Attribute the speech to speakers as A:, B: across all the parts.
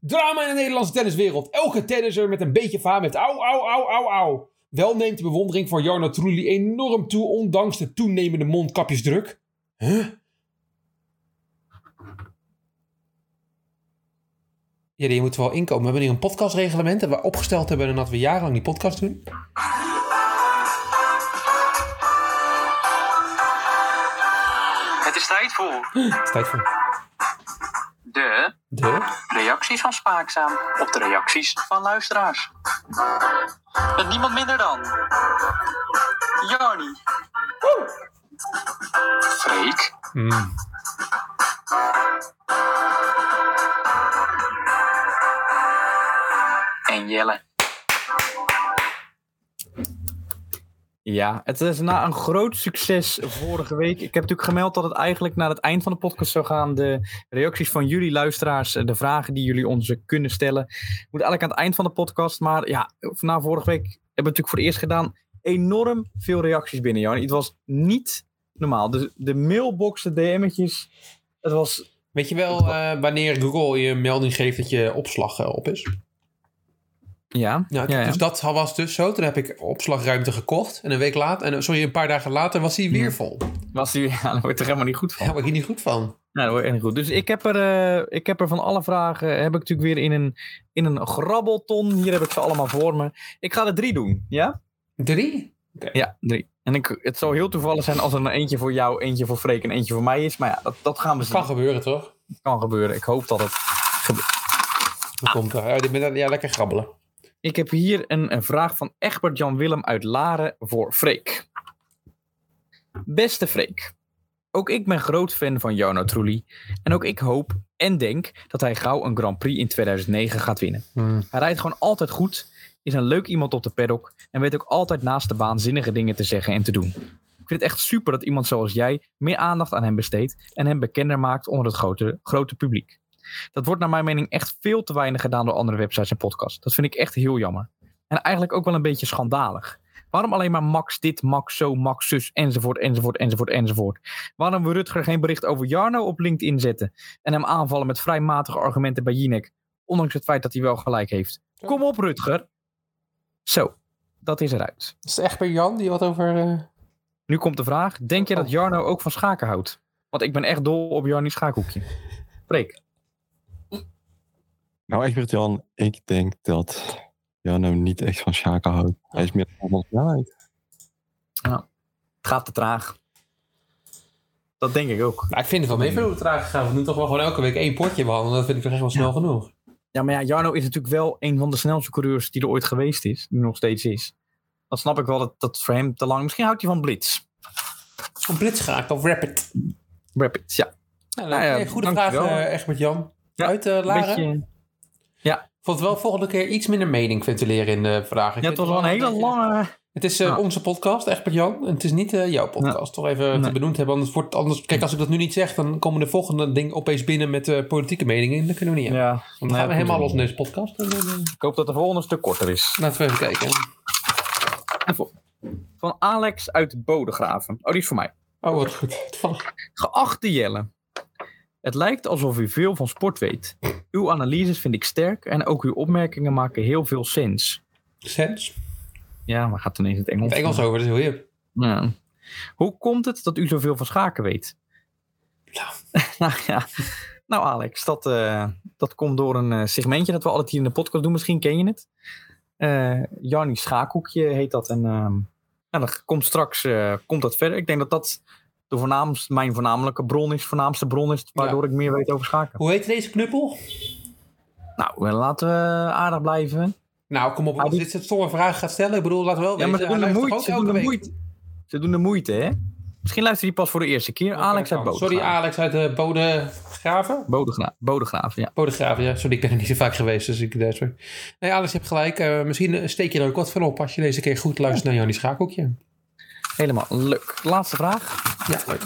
A: Drama in de Nederlandse tenniswereld. Elke tennisser met een beetje faam heeft au, au, au, au, au. Wel neemt de bewondering voor Jarno Trulli enorm toe, ondanks de toenemende mondkapjesdruk. Huh? Ja, die moeten wel inkomen. We hebben hier een podcastreglement dat we opgesteld hebben en dat we jarenlang die podcast doen.
B: Het is tijd voor
A: Het is tijd voor
B: de
A: de...
B: reacties van Spaakzaam op de reacties van luisteraars. Met niemand minder dan Jarni, Freek,
A: Hmm.
B: en Jelle.
C: Ja, het is na een groot succes vorige week. Ik heb natuurlijk gemeld dat het eigenlijk naar het eind van de podcast zou gaan. De reacties van jullie luisteraars, eh, de vragen die jullie ons eh, kunnen stellen. Moet eigenlijk aan het eind van de podcast. Maar ja, na vorige week hebben we het natuurlijk voor het eerst gedaan. Enorm veel reacties binnen, Jan. Het was niet normaal. De, de mailbox, de DM'tjes. Het was,
A: Weet je wel eh, wanneer Google je een melding geeft dat je opslag eh, op is?
C: ja.
A: Ja,
C: ja, ja.
A: Dus dat was dus zo. Toen heb ik opslagruimte gekocht. En een week later, en, sorry, een paar dagen later was hij weer
C: Ja.
A: vol.
C: Was die, ja, daar word je er helemaal niet goed van.
A: Daar word ik hier niet goed van.
C: Nou, dat wordt echt goed. Dus ik heb, er, eh, ik heb er van alle vragen, eh, heb ik natuurlijk weer in een, in een grabbelton. Hier heb ik ze allemaal voor me. Ik ga er drie doen, ja?
A: Drie?
C: Ja, drie. En ik, het zou heel toevallig zijn als er maar eentje voor jou, eentje voor Freek en eentje voor mij is. Maar ja, dat, dat gaan we
A: Dat kan
C: zien.
A: gebeuren, toch?
C: Dat kan gebeuren. Ik hoop dat het gebeurt.
A: Dat komt er. Ja, dit met- ja, lekker grabbelen.
C: Ik heb hier een, een vraag van Egbert Jan Willem uit Laren voor Freek. Beste Freek, ook ik ben groot fan van Jarno Trulli. En ook ik hoop en denk dat hij gauw een Grand Prix in 2009 gaat winnen.
A: Hmm.
C: Hij rijdt gewoon altijd goed, is een leuk iemand op de paddock en weet ook altijd naast de baan zinnige dingen te zeggen en te doen. Ik vind het echt super dat iemand zoals jij meer aandacht aan hem besteedt en hem bekender maakt onder het grote, grote publiek. Dat wordt naar mijn mening echt veel te weinig gedaan door andere websites en podcasts. Dat vind ik echt heel jammer. En eigenlijk ook wel een beetje schandalig. Waarom alleen maar Max dit, Max zo, Max zus, enzovoort, enzovoort, enzovoort, enzovoort. Waarom we Rutger geen bericht over Jarno op LinkedIn zetten en hem aanvallen met vrij matige argumenten bij Jinek, ondanks het feit dat hij wel gelijk heeft. Kom op, Rutger. Zo, dat is eruit.
A: Is het echt bij Jan die wat over... eh,
C: Nu komt de vraag: denk je dat Jarno ook van schaken houdt? Want ik ben echt dol op Jarni's schaakhoekje. Freek.
D: Nou, Egbert Jan, ik denk dat Jan hem niet echt van Shaka houdt. Hij is meer van ons snelheid.
C: Het gaat te traag. Dat denk ik ook.
A: Nou, ik vind het wel mee veel hoe het traag gegaan. We doen toch wel gewoon elke week één potje behandelen. Dat vind ik toch echt wel snel genoeg.
C: Ja, maar ja, Jarno is natuurlijk wel een van de snelste coureurs die er ooit geweest is. Nu nog steeds is. Dan snap ik wel dat dat voor hem te lang. Misschien houdt hij van Blitz.
A: Een blitzschaak of rapid.
C: Rapid, ja.
A: Nou,
C: Nou ja,
A: oké, goede vraag,
C: dankjewel.
A: eh echt met Jan.
C: Ja,
A: Uit eh Laren.
C: Beetje,
A: Vond wel volgende keer iets minder mening ventileren in de vragen. Ik
C: ja,
A: vind
C: het was wel een hele
A: beetje-
C: lange.
A: Het is eh,
C: Ja.
A: onze podcast, echt met Jan. En het is niet eh, jouw podcast. Toch even te
C: Nee.
A: benoemd hebben. Anders wordt anders. Kijk, als ik dat nu niet zeg, dan komen de volgende dingen opeens binnen met eh, politieke meningen. Dat kunnen we niet hebben.
C: Ja.
A: Want dan gaan we
C: Nee,
A: helemaal
C: goed.
A: los in deze podcast. En, eh,
C: Ik hoop dat de volgende een stuk korter is.
A: laten we even kijken.
C: Van Alex uit Bodegraven. Oh, die is voor mij.
A: Oh, wat goed. Toevallig.
C: Geachte Jelle, het lijkt alsof u veel van sport weet. Uw analyses vind ik sterk en ook uw opmerkingen maken heel veel sens.
A: Sens.
C: Ja, maar gaat ineens het Engels.
A: Het Engels over, dat is heel hip.
C: Ja. Hoe komt het dat u zoveel van schaken weet?
A: Nou.
C: nou ja. Nou Alex, dat, eh, dat komt door een eh, segmentje dat we altijd hier in de podcast doen. Misschien ken je het. Eh Jarnie Schaakhoekje heet dat. En ehm nou, dat komt straks eh, komt dat verder. Ik denk dat dat de voornaamst, mijn voornamelijke bron is. Voornaamste bron is waardoor ik meer weet over schaken.
A: Hoe heet deze knuppel?
C: Nou, eh, laten we aardig blijven.
A: Nou, kom op. Als
C: Ah, die-
A: dit soort stomme vragen gaat stellen, ik bedoel, laten we wel
C: Ja, maar ze
A: weten.
C: doen de
A: hij luistert
C: moeite.
A: ook
C: Ze
A: elke
C: doen de
A: week.
C: moeite. Ze doen de moeite, hè? Misschien luistert hij pas voor de eerste keer. Alex uit Bodegraven.
A: Sorry, Alex uit de Bodegraven.
C: Bodegra- Bodegraven, ja.
A: Bodegraven, Oh, ja. Sorry, ik ben er niet zo vaak geweest, dus ik... eh, Sorry. Nee, Alex, je hebt gelijk. Eh, misschien eh, steek je er ook wat van op als je deze keer goed luistert naar Jannie Schakeltje.
C: Helemaal leuk. Laatste vraag.
A: Ja, leuk.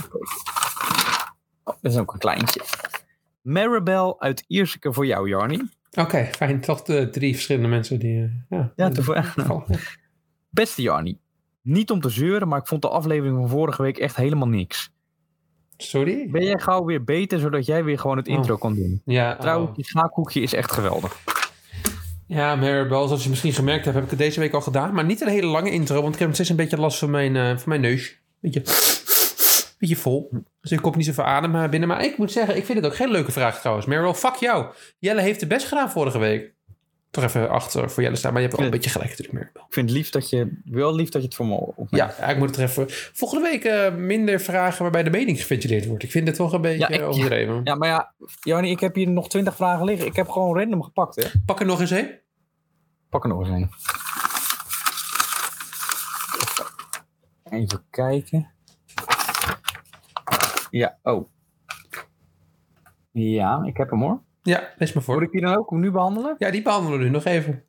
C: Oh, dat is ook een kleintje. Maribel uit Ierseke voor jou, Jarnie.
A: Oké, fijn. Toch de drie verschillende mensen die... eh, ja,
C: Ja,
A: in
C: toevallig.
A: dit geval.
C: Beste Jarnie. Niet om te zeuren, maar ik vond de aflevering van vorige week echt helemaal niks.
A: Sorry?
C: Ben jij gauw weer beter, zodat jij weer gewoon het intro kan doen.
A: Ja, oh.
C: Trouwens, die schaakhoekje is echt geweldig.
A: ja Maribel, zoals je misschien gemerkt hebt, heb ik het deze week al gedaan. Maar niet een hele lange intro, want ik heb nog steeds een beetje last van mijn, eh, van mijn neus. Beetje, beetje vol. Dus ik kom niet zoveel adem eh, binnen. Maar ik moet zeggen, ik vind het ook geen leuke vraag trouwens. Maribel, fuck jou. Jelle heeft het best gedaan vorige week. Toch even achter voor Jelle staan, maar je hebt wel een beetje gelijk natuurlijk, Maribel.
C: Ik vind het lief dat je, wel lief dat je het voor me opneemt.
A: Ja, ja, ik moet het er even... Volgende week eh, minder vragen waarbij de mening geventileerd wordt. Ik vind het toch een beetje
C: Ja, ik-
A: eh, overdreven.
C: Ja, maar ja, Jannie, ik heb hier nog twintig vragen liggen. Ik heb gewoon random gepakt, hè.
A: Pak er nog eens heen.
C: Pak er nog eens een. Even kijken. Ja, oh. Ja, ik heb hem hoor.
A: Ja, lees maar
C: Moet
A: voor.
C: ik die dan ook nu behandelen?
A: Ja, die behandelen we nu nog even.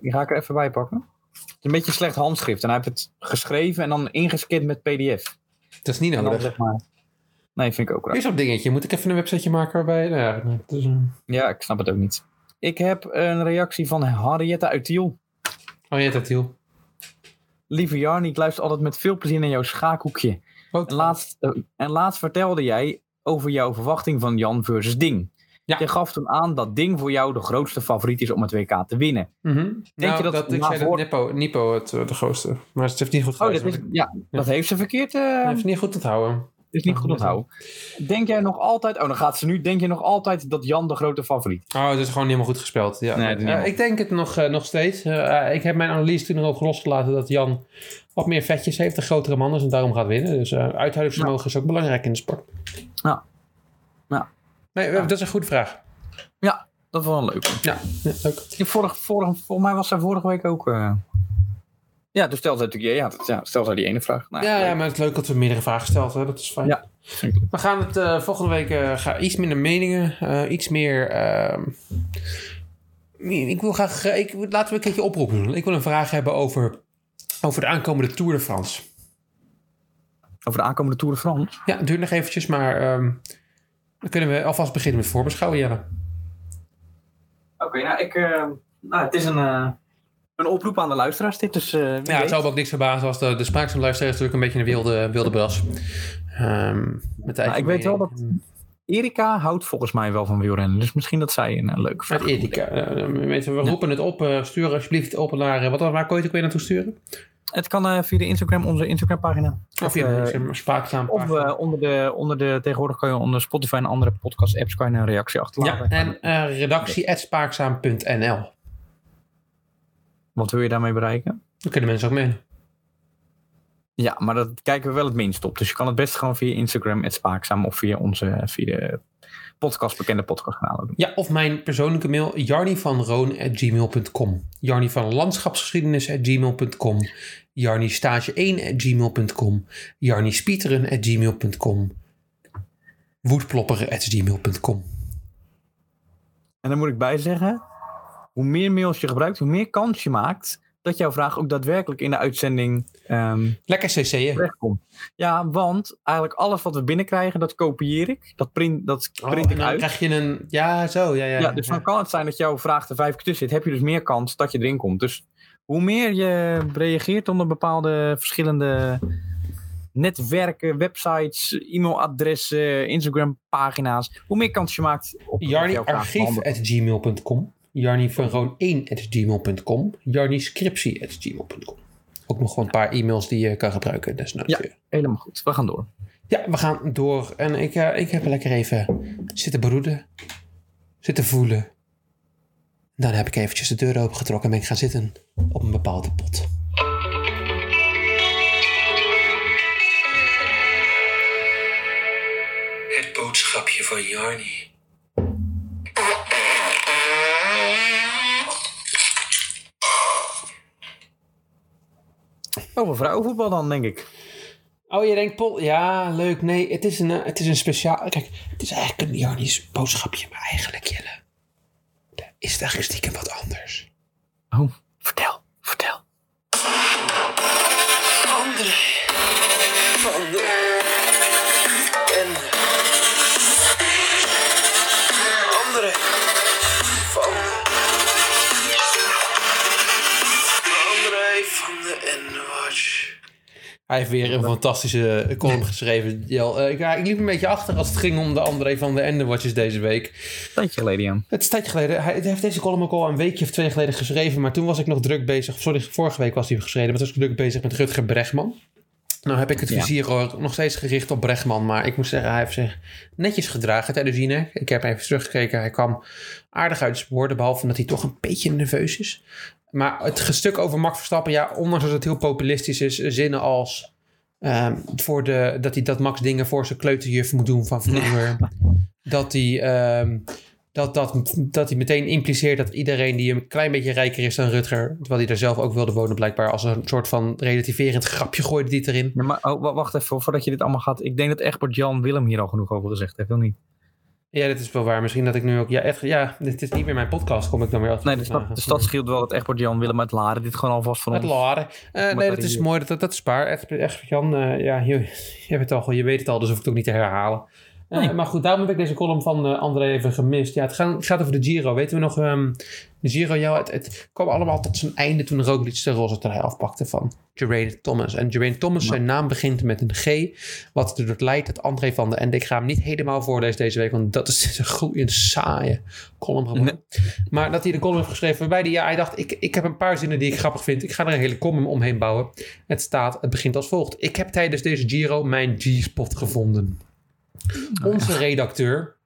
C: Die ga ik er even bij pakken. Het is een beetje slecht handschrift. En hij heeft het geschreven en dan ingeskind met pdf.
A: Dat is niet
C: En dan
A: nodig.
C: zeg maar... Nee, vind ik ook raar.
A: Weer zo'n dingetje. Moet ik even een websiteje maken waarbij... Nou ja, het is een...
C: Ja, ik snap het ook niet. Ik heb een reactie van Henrietta uit Tiel.
A: Oh ja, dat Tiel.
C: Lieve Jarni, ik luister altijd met veel plezier naar jouw schaakhoekje.
A: Wat?
C: En laatst, eh, en laatst vertelde jij over jouw verwachting van Jan versus Ding.
A: Ja.
C: Je gaf toen aan dat Ding voor jou de grootste favoriet is om het WK te winnen.
A: Mhm. nou,
C: je dat-
A: dat, ik
C: na
A: zei dat
C: voor-
A: Nippo, Nippo het, eh, de grootste. Maar het heeft niet goed
C: Oh,
A: gehouden.
C: dat, is, ja, dat heeft ze verkeerd. eh,
A: heeft niet goed onthouden.
C: is niet goed onthouden. Denk jij nog altijd. Oh, dan gaat ze nu. Denk je nog altijd dat Jan de grote favoriet is?
A: Oh, het is gewoon niet helemaal goed gespeeld. Ja.
C: Nee, dat is niet
A: Eh,
C: helemaal-
A: ik denk het nog, eh, nog steeds. Eh, eh, ik heb mijn analyse toen ook losgelaten dat Jan wat meer vetjes heeft, een grotere man is en daarom gaat winnen. Dus eh uithoudingsvermogen is ook belangrijk in de sport.
C: Ja. Ja.
A: Nee, eh, dat is een goede vraag.
C: Dat was wel een leuke.
A: Ja, ja leuk.
C: Die Vorig, vorig, volgens mij was zij vorige week ook. eh, Ja, toen stelde zij natuurlijk. Ja, dat- ja, stelde zij die ene vraag. Nou,
A: Ja,
C: leuk.
A: ja, maar het is leuk dat we meerdere vragen gesteld hebben. Dat is fijn.
C: Ja.
A: We gaan het eh, volgende week eh, ga iets minder meningen, eh, iets meer. ehm, ik wil graag. eh, Ik, laten we een keertje oproep doen. Ik wil een vraag hebben over, over de aankomende Tour de France.
C: Over de aankomende Tour de France.
A: Ja, het duurt nog eventjes, maar ehm, dan kunnen we alvast beginnen met voorbeschouwen, Jelle.
C: Oké, nou, ik, nou, het is een, een oproep aan de luisteraars. Dit dus.
A: Ja, het zou me ook niks verbazen als de, de spraakzaamluisteraar is natuurlijk een beetje een wilde, wilde bras. Ehm, met eigen
C: Nou, ik weet wel
A: mening.
C: Erika houdt volgens mij wel van wielrennen. Dus misschien dat zij een eh, leuke vraag
A: Met Erika. Eh, mensen, we
C: Ja.
A: roepen het op. eh, stuur alsjeblieft op naar... eh, wat, waar kon je het ook weer naartoe sturen?
C: Het kan eh, via de Instagram, onze Instagram-pagina.
A: Of via
C: eh,
A: een spaakzaam
C: Of
A: pagina.
C: eh, onder, de, onder de, tegenwoordig kan je onder Spotify en andere podcast-apps kan je een reactie
A: ja,
C: achterlaten.
A: en eh redactie.spaakzaam.nl.
C: Wat wil je daarmee bereiken?
A: Dan kunnen mensen ook mee.
C: Ja, maar dat kijken we wel het minst op. Dus je kan het best gewoon via Instagram, het Spaakzaam, of via onze eh, via de podcast, bekende podcastkanalen doen.
A: Ja, of mijn persoonlijke mail, Jarny van jarnivanroon.gmail.com. Jarny van landschapsgeschiedenis.gmail.com. Jarny stage1.gmail.com. Jarny spieteren.gmail.com. Woedplopperen.gmail.com.
C: En dan moet ik bij zeggen, hoe meer mails je gebruikt, hoe meer kans je maakt dat jouw vraag ook daadwerkelijk in de uitzending ehm,
A: Lekker cc'en.
C: terechtkomt. Ja, want eigenlijk alles wat we binnenkrijgen, dat kopieer ik. Dat print, dat
A: Oh,
C: print
A: en
C: ik
A: dan
C: uit.
A: krijg je een... Ja, zo. Ja, ja,
C: Ja, dus dan kan het zijn dat jouw vraag er vijf keer tussen zit. Heb je dus meer kans dat je erin komt. Dus hoe meer je reageert onder bepaalde verschillende netwerken, websites, e-mailadressen, Instagram-pagina's, hoe meer kans je maakt op dat
A: Jarny
C: jouw vraag
A: archief
C: behandeld
A: at gmail.com. Jarny van Roon 1 at gmail.com. Jarny scriptie at gmail.com. Ook nog gewoon een paar e-mails die je kan gebruiken desnoods
C: Ja.
A: weer.
C: wordt. Helemaal goed. We gaan door.
A: Ja, we gaan door. En ik, eh, ik heb lekker even zitten broeden. Zitten voelen. Dan heb ik eventjes de deur opengetrokken en ben ik gaan zitten op een bepaalde pot. Het boodschapje van Jarni.
C: Over vrouwenvoetbal dan, denk ik.
A: Oh, je denkt, Pol, ja, leuk. Nee, het is een, eh, het is een speciaal... Kijk, het is eigenlijk een Jarni's boodschapje, maar eigenlijk, Jelle... Is daar stiekem wat anders.
C: Oh, vertel, vertel.
A: Hij heeft weer een fantastische eh, column geschreven. Jel. Eh, ik, ja, ik liep een beetje achter als het ging om de André van de Enderwatches deze week.
C: Tijdje geleden, ja.
A: Het is een tijdje geleden. Hij heeft deze column ook al een weekje of twee geleden geschreven. Maar toen was ik nog druk bezig. Sorry, vorige week was hij geschreven. Maar toen was ik druk bezig met Rutger Bregman. Nou heb ik het
C: Ja.
A: vizier ook nog steeds gericht op Bregman. Maar ik moet zeggen, hij heeft zich netjes gedragen tijdens Jinek. Ik heb even teruggekeken. Hij kwam aardig uit zijn woorden. Behalve dat hij toch een beetje nerveus is. Maar het stuk over Max Verstappen, ja, ondanks dat het heel populistisch is, zinnen als ehm, voor de, dat hij dat Max dingen voor zijn kleuterjuf moet doen van vroeger. dat hij ehm, dat, dat, dat hij meteen impliceert dat iedereen die een klein beetje rijker is dan Rutger, terwijl hij daar zelf ook wilde wonen blijkbaar, als een soort van relativerend grapje gooide die het erin.
C: Ja, maar oh, wa- wacht even, voordat je dit allemaal gaat. Ik denk dat Egbert Jan Willem hier al genoeg over gezegd heeft, wil niet?
A: Ja, dat is wel waar. Misschien dat ik nu ook, ja, echt, ja, dit is niet meer mijn podcast, kom ik dan weer altijd.
C: Nee, de stad, de stad scheelt wel dat Egbert Jan Willem uit Laren dit gewoon alvast van
A: Het
C: ons.
A: laren. Eh, nee, dat
C: dat
A: is
C: hier-
A: mooi. Dat, dat is waar. Echt, echt Jan, eh, ja, je, je, hebt het al, je weet het al, dus hoef ik het ook niet te herhalen. Eh,
C: Nee.
A: Maar goed, daarom heb ik deze column van eh, André even gemist. Ja, het gaan- het gaat over de Giro. Weten we nog, ehm, de Giro, ja, het, het kwam allemaal tot zijn einde toen Roglic de roze trui afpakte van Geraint Thomas. En Geraint Thomas, zijn naam begint met een G, wat erdoor leidt dat André van de... En ik ga hem niet helemaal voorlezen deze week, want dat is een gloeiend saaie column geworden. Maar dat hij de column heeft geschreven waarbij hij, ja, hij dacht, ik, ik heb een paar zinnen die ik grappig vind. Ik ga er een hele column omheen bouwen. Het staat, het begint als volgt. Ik heb tijdens deze Giro mijn G-spot gevonden. Onze redacteur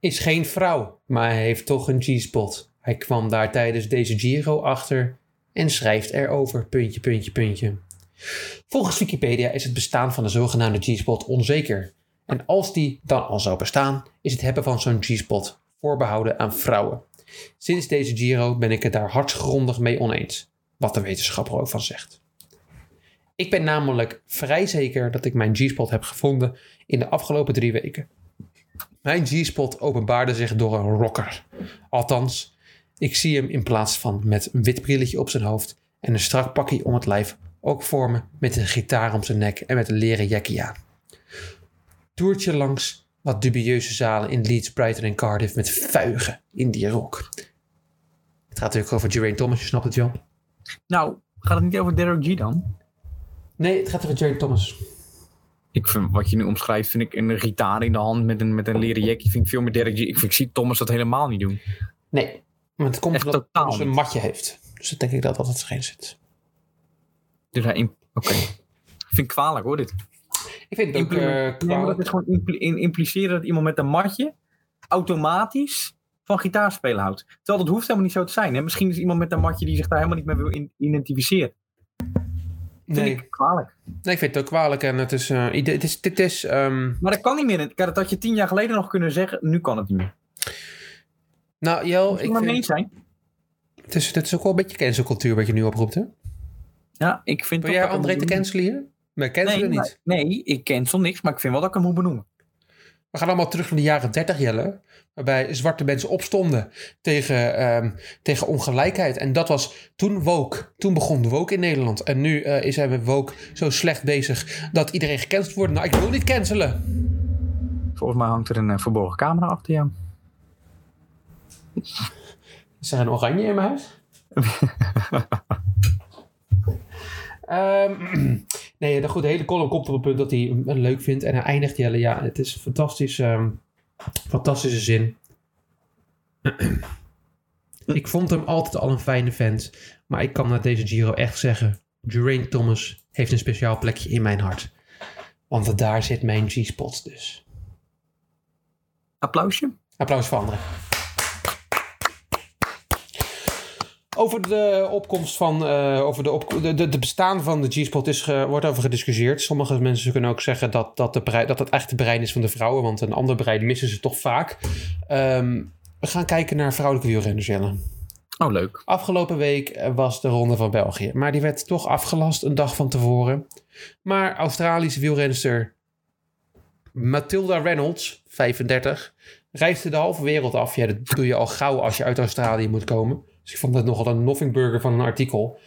A: is geen vrouw, maar hij heeft toch een G-spot. Hij kwam daar tijdens deze Giro achter en schrijft erover, puntje, puntje, puntje. Volgens Wikipedia is het bestaan van de zogenaamde G-spot onzeker. En als die dan al zou bestaan, is het hebben van zo'n G-spot voorbehouden aan vrouwen. Sinds deze Giro ben ik het daar hartsgrondig mee oneens, wat de wetenschapper ook van zegt. Ik ben namelijk vrij zeker dat ik mijn G-spot heb gevonden in de afgelopen drie weken. Mijn G-spot openbaarde zich door een rocker. Althans, ik zie hem in plaats van met een wit brilletje op zijn hoofd en een strak pakje om het lijf ook voor me met een gitaar om zijn nek en met een leren jackie aan toertje langs wat dubieuze zalen in Leeds, Brighton en Cardiff met vuigen in die rok. Het gaat natuurlijk over Geraint Thomas, je snapt het wel.
C: Nou, gaat het niet over Derek G dan?
A: Nee, het gaat over Geraint Thomas.
C: Ik vind, wat je nu omschrijft, vind ik een gitaar in de hand met een, met een leren jackie. Vind ik veel meer Derek G. Ik, vind, ik zie Thomas dat helemaal niet doen.
A: Nee, maar het komt
C: Echt
A: omdat
C: totaal
A: Thomas een
C: niet.
A: matje heeft. Dus dat denk ik dat dat het geen zit.
C: Dus hij. in- Oké. Ik vind ik kwalijk hoor, dit.
A: Ik vind het ook
C: Implement-
A: eh
C: Nee, maar
A: kwalijk.
C: dat is gewoon impl- in- impliceren dat iemand met een matje automatisch van gitaarspelen houdt. Terwijl dat hoeft helemaal niet zo te zijn. Hè? Misschien is iemand met een matje die zich daar helemaal niet mee wil in- identificeren. Vind
A: nee.
C: ik kwalijk.
A: nee, ik vind het ook kwalijk. En het is, eh, ide- het is, dit is, ehm,
C: Maar dat kan niet meer. Dat had je tien jaar geleden nog kunnen zeggen. Nu kan het niet meer.
A: nou Jel,
C: Moet je
A: ik
C: maar mee
A: vind,
C: eens zijn.
A: het, is, het is ook wel een beetje cancelcultuur wat je nu oproept, hè?
C: Ja, ik vind
A: Wil jij
C: toch dat ik
A: André
C: hem
A: te
C: moet
A: cancelen hier? Nee,
C: benoemen.
A: cancelen
C: Nee,
A: niet.
C: maar- nee, ik cancel niks, maar ik vind wel dat ik hem moet benoemen.
A: We gaan allemaal terug naar de jaren 30, Jelle. Waarbij zwarte mensen opstonden tegen, ehm, tegen ongelijkheid. En dat was toen woke. Toen begon woke in Nederland. En nu eh, is hij met woke zo slecht bezig dat iedereen gecanceld wordt. Nou, ik wil niet cancelen.
C: Volgens mij hangt er een eh, verborgen camera achter jou.
A: Is er een oranje in mijn huis? Ehm, nee, de, goed, de hele column komt op het punt dat hij hem leuk vindt. En hij eindigt Jelle. Ja, het is een fantastisch, ehm, fantastische zin. ik vond hem altijd al een fijne vent. Maar ik kan na deze Giro echt zeggen... Geraint Thomas heeft een speciaal plekje in mijn hart. Want daar zit mijn G-spot dus.
C: Applausje.
A: Applaus voor André. Over de opkomst van, eh, over de, op, de, de, de bestaan van de G-spot is, ge- wordt over gediscussieerd. Sommige mensen kunnen ook zeggen dat dat, de brein, dat het echt de brein is van de vrouwen, want een ander brein missen ze toch vaak. Ehm, we gaan kijken naar vrouwelijke wielrenners, Jelle.
C: Oh, leuk.
A: Afgelopen week eh, was de Ronde van België. Maar die werd toch afgelast een dag van tevoren. Maar Australische wielrenster Matilda Reynolds, 35, reisde de halve wereld af. Ja, dat doe je al gauw als je uit Australië moet komen. Dus ik vond dat nogal een nothingburger van een artikel.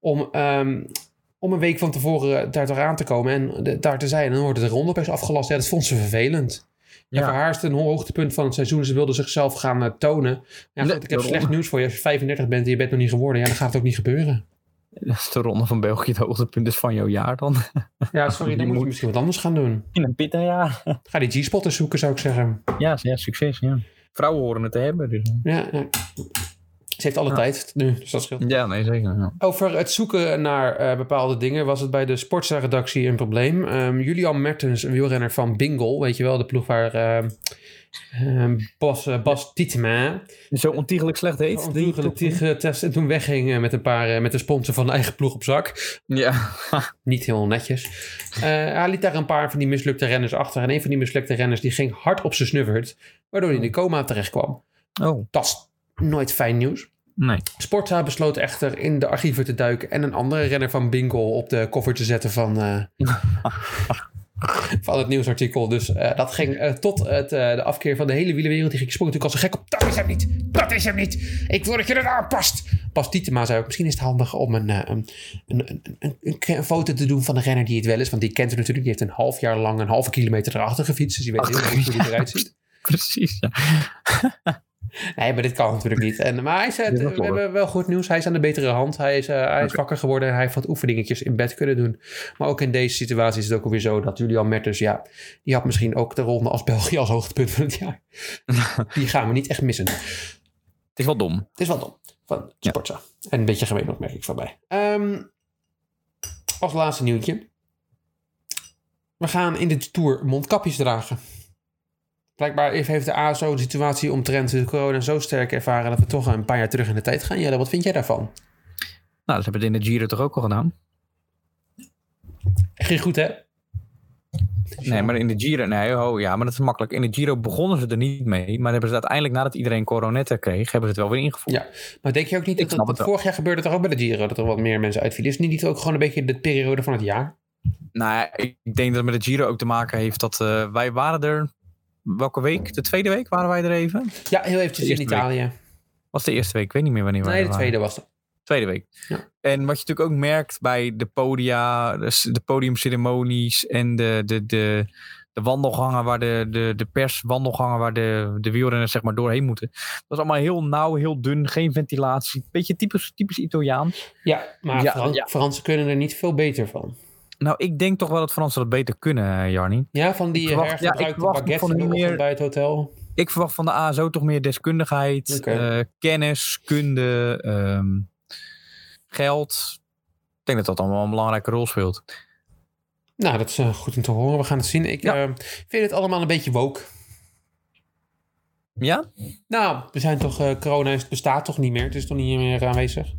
A: Om, ehm, om een week van tevoren eh, daar toch aan te komen en de- daar te zijn. En dan wordt de Ronde opeens afgelast. Ja, dat vond ze vervelend. En
C: Ja.
A: voor haar is het een hoogtepunt van het seizoen. Ze wilde zichzelf gaan eh, tonen. Ja, goed, ik heb
C: Daarom.
A: slecht nieuws voor je. Als je 35 bent en je bent nog niet geworden, ja, dan gaat het ook niet gebeuren.
C: Dat is de ronde van België het hoogtepunt is van jouw jaar dan.
A: Ja, sorry, dan moet je
C: moet-
A: misschien wat anders gaan doen.
C: In een pita jaar.
A: Ga die G-spotters zoeken, zou ik zeggen.
C: Ja, ja, succes. Ja. Vrouwen horen het te hebben. Dus.
A: Ja, ja. Ze heeft alle
C: Ja.
A: tijd nu, dus dat scheelt.
C: Ja, nee, zeker. Ja.
A: Over het zoeken naar eh, bepaalde dingen was het bij de sportza-redactie een probleem. Ehm, Julian Mertens, een wielrenner van Bingle, weet je wel, de ploeg waar ehm, ehm, Bas, eh, Bas Tietema
C: Zo ontiegelijk slecht heet.
A: die getest en toen wegging eh, met een paar eh, met de sponsor van de eigen ploeg op zak.
C: Ja.
A: Niet heel netjes. Eh, hij liet daar een paar van die mislukte renners achter en een van die mislukte renners die ging hard op zijn snuffert, waardoor hij in de coma terecht kwam.
C: Oh,
A: Dat is nooit fijn nieuws.
C: nee.
A: Sportza besloot echter in de archieven te duiken en een andere renner van Bingo op de cover te zetten van, eh, van het nieuwsartikel. Dus eh, dat ging eh, tot het, eh, de afkeer van de hele wielerwereld. Die ging sprong natuurlijk als een gek op. Dat is hem niet! Dat is hem niet! Ik wil dat je dat aanpast! Pas Tietema zei ook, misschien is het handig om een, eh, een, een, een, een, een foto te doen van de renner die het wel is. Want die kent hem natuurlijk. Die heeft een half jaar lang een halve kilometer erachter gefietst. Dus die weet heel goed hoe hij eruit ziet.
C: Precies. Ja.
A: Nee, maar dit kan natuurlijk niet. En, maar hij is, eh,
C: Dit is nog
A: we
C: wel.
A: hebben wel goed nieuws. Hij is aan de betere hand. Hij is, eh, hij is
C: Oké.
A: wakker geworden en hij heeft wat oefeningetjes in bed kunnen doen. Maar ook in deze situatie is het ook alweer zo dat Julian Mertens, ja, die had misschien ook de ronde als België als hoogtepunt van het jaar. Die gaan we niet echt missen. Het
C: Het is wel dom.
A: is wel dom van
C: Ja.
A: Sportza. En een beetje gemeen opmerking van mij. Ehm, als laatste nieuwtje. We gaan in de Tour mondkapjes dragen. Blijkbaar heeft de ASO de situatie omtrent de corona zo sterk ervaren... dat we toch een paar jaar terug in de tijd gaan. Jelle, wat vind jij daarvan?
C: Nou, dat hebben we in de Giro toch ook al gedaan?
A: Geen goed, hè?
C: Nee, maar in de Giro... Nee, oh, ja, maar dat is makkelijk. In de Giro begonnen ze er niet mee. Maar hebben ze het uiteindelijk, nadat iedereen coronetten kreeg... hebben ze het wel weer ingevoerd.
A: Ja, maar denk je ook niet dat,
C: Ik
A: dat,
C: snap het wel.
A: vorig jaar gebeurde toch ook bij de Giro... dat er wat meer mensen uitvielen? Is het niet ook gewoon een beetje de periode van het jaar?
C: Nou, ja, ik denk dat het met de Giro ook te maken heeft dat eh, wij waren er... Welke week? De tweede week waren wij er even?
A: Ja, heel eventjes in
C: Eerste week.
A: Italië.
C: Was de eerste week? Ik weet niet meer wanneer wij
A: Nee,
C: er
A: de
C: waren.
A: tweede was het.
C: Tweede week.
A: Ja.
C: En wat je natuurlijk ook merkt bij de podia, dus de podiumceremonies en de, de, de, de wandelgangen waar de, de, de perswandelgangen waar de, de wielrenners zeg maar doorheen moeten. Dat is allemaal heel nauw, heel dun, geen ventilatie. Beetje typisch, typisch Italiaans.
A: Ja, maar
C: Ja,
A: Fran-
C: ja.
A: Fransen kunnen er niet veel beter van.
C: Nou, ik denk toch wel dat Fransen dat beter kunnen, eh, Jarni.
A: Ja, van die eh,
C: Ik verwacht- ja, ik
A: hergebruikte
C: verwacht
A: baguette
C: van
A: van de
C: hun
A: ochtend
C: meer-
A: bij het hotel.
C: Ik verwacht van de ASO toch meer deskundigheid,
A: Oké.
C: eh, kennis, kunde, ehm, geld. Ik denk dat dat allemaal een belangrijke rol speelt.
A: Nou, dat is eh, goed om te horen. We gaan het zien. Ik
C: Ja.
A: eh, vind het allemaal een beetje woke.
C: Ja?
A: Nou, we zijn toch, eh, corona is- bestaat toch niet meer. Het is toch niet meer aanwezig. En als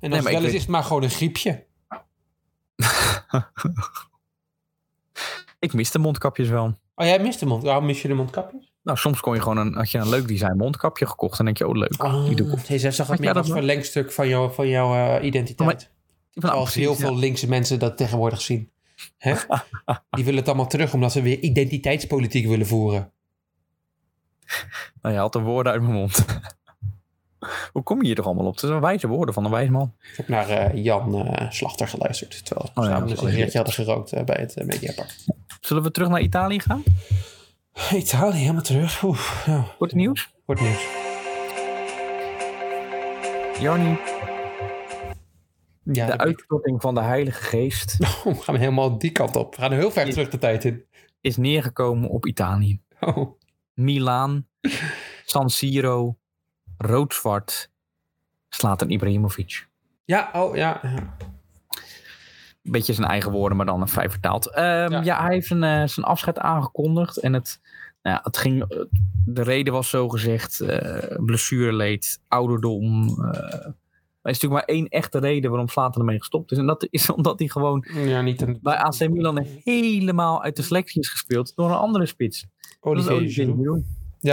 C: maar
A: het
C: ik
A: wel is,
C: weet-
A: is het maar gewoon een griepje.
C: Ik mis de mondkapjes wel.
A: Oh, jij mist de mond. Waarom mis je de mondkapjes?
C: Nou, soms kon je gewoon een, had je een leuk design mondkapje gekocht. En denk je, oh leuk.
A: Ah,
C: die doe ik op.
A: Zij zag
C: Had
A: het
C: jij
A: meer
C: dat
A: als
C: nog?
A: verlengstuk van, jou, van jouw eh,
C: Oh,
A: identiteit.
C: maar- Ik ben- nou,
A: Zoals heel
C: precies,
A: veel linkse mensen dat tegenwoordig zien. Hè? Die willen het allemaal terug omdat ze weer identiteitspolitiek willen voeren.
C: ja. Nou, je haalt de woorden uit mijn mond. Hoe kom je hier toch allemaal op? Het zijn wijze woorden van een wijs man.
A: Ik heb naar eh, Jan eh, Slachter geluisterd. Terwijl we
C: ja,
A: samen
C: dat
A: een
C: is wel
A: sigaretje hadden gerookt eh, bij het eh, Mediapark.
C: Zullen we terug naar Italië gaan?
A: Italië, helemaal terug. Oeh, ja,
C: Kort nieuws.
A: wordt nieuws.
C: Jarni,
A: Ja,
C: de
A: dat-
C: uitstotting van de Heilige Geest
A: Oeh, gaan we helemaal die kant op. We gaan heel ver terug de tijd in.
C: is neergekomen op Italië.
A: Oh.
C: Milaan, San Siro, rood-zwart, slaat een Ibrahimovic.
A: Ja, oh ja. ja.
C: Beetje zijn eigen woorden, maar dan een vrij vertaald. Ehm,
A: Ja.
C: ja. hij heeft een, eh, zijn afscheid aangekondigd. En het, nou ja, het ging, eh, de reden was zogezegd eh blessureleed, ouderdom. eh. er is natuurlijk maar één echte reden waarom Slater ermee gestopt is. En dat is omdat hij gewoon
A: Ja, niet een...
C: bij AC Milan helemaal uit de selectie is gespeeld door een andere spits. Dat is
A: Olivier
C: Olivier
A: Oh, Giroud.
C: Giroud.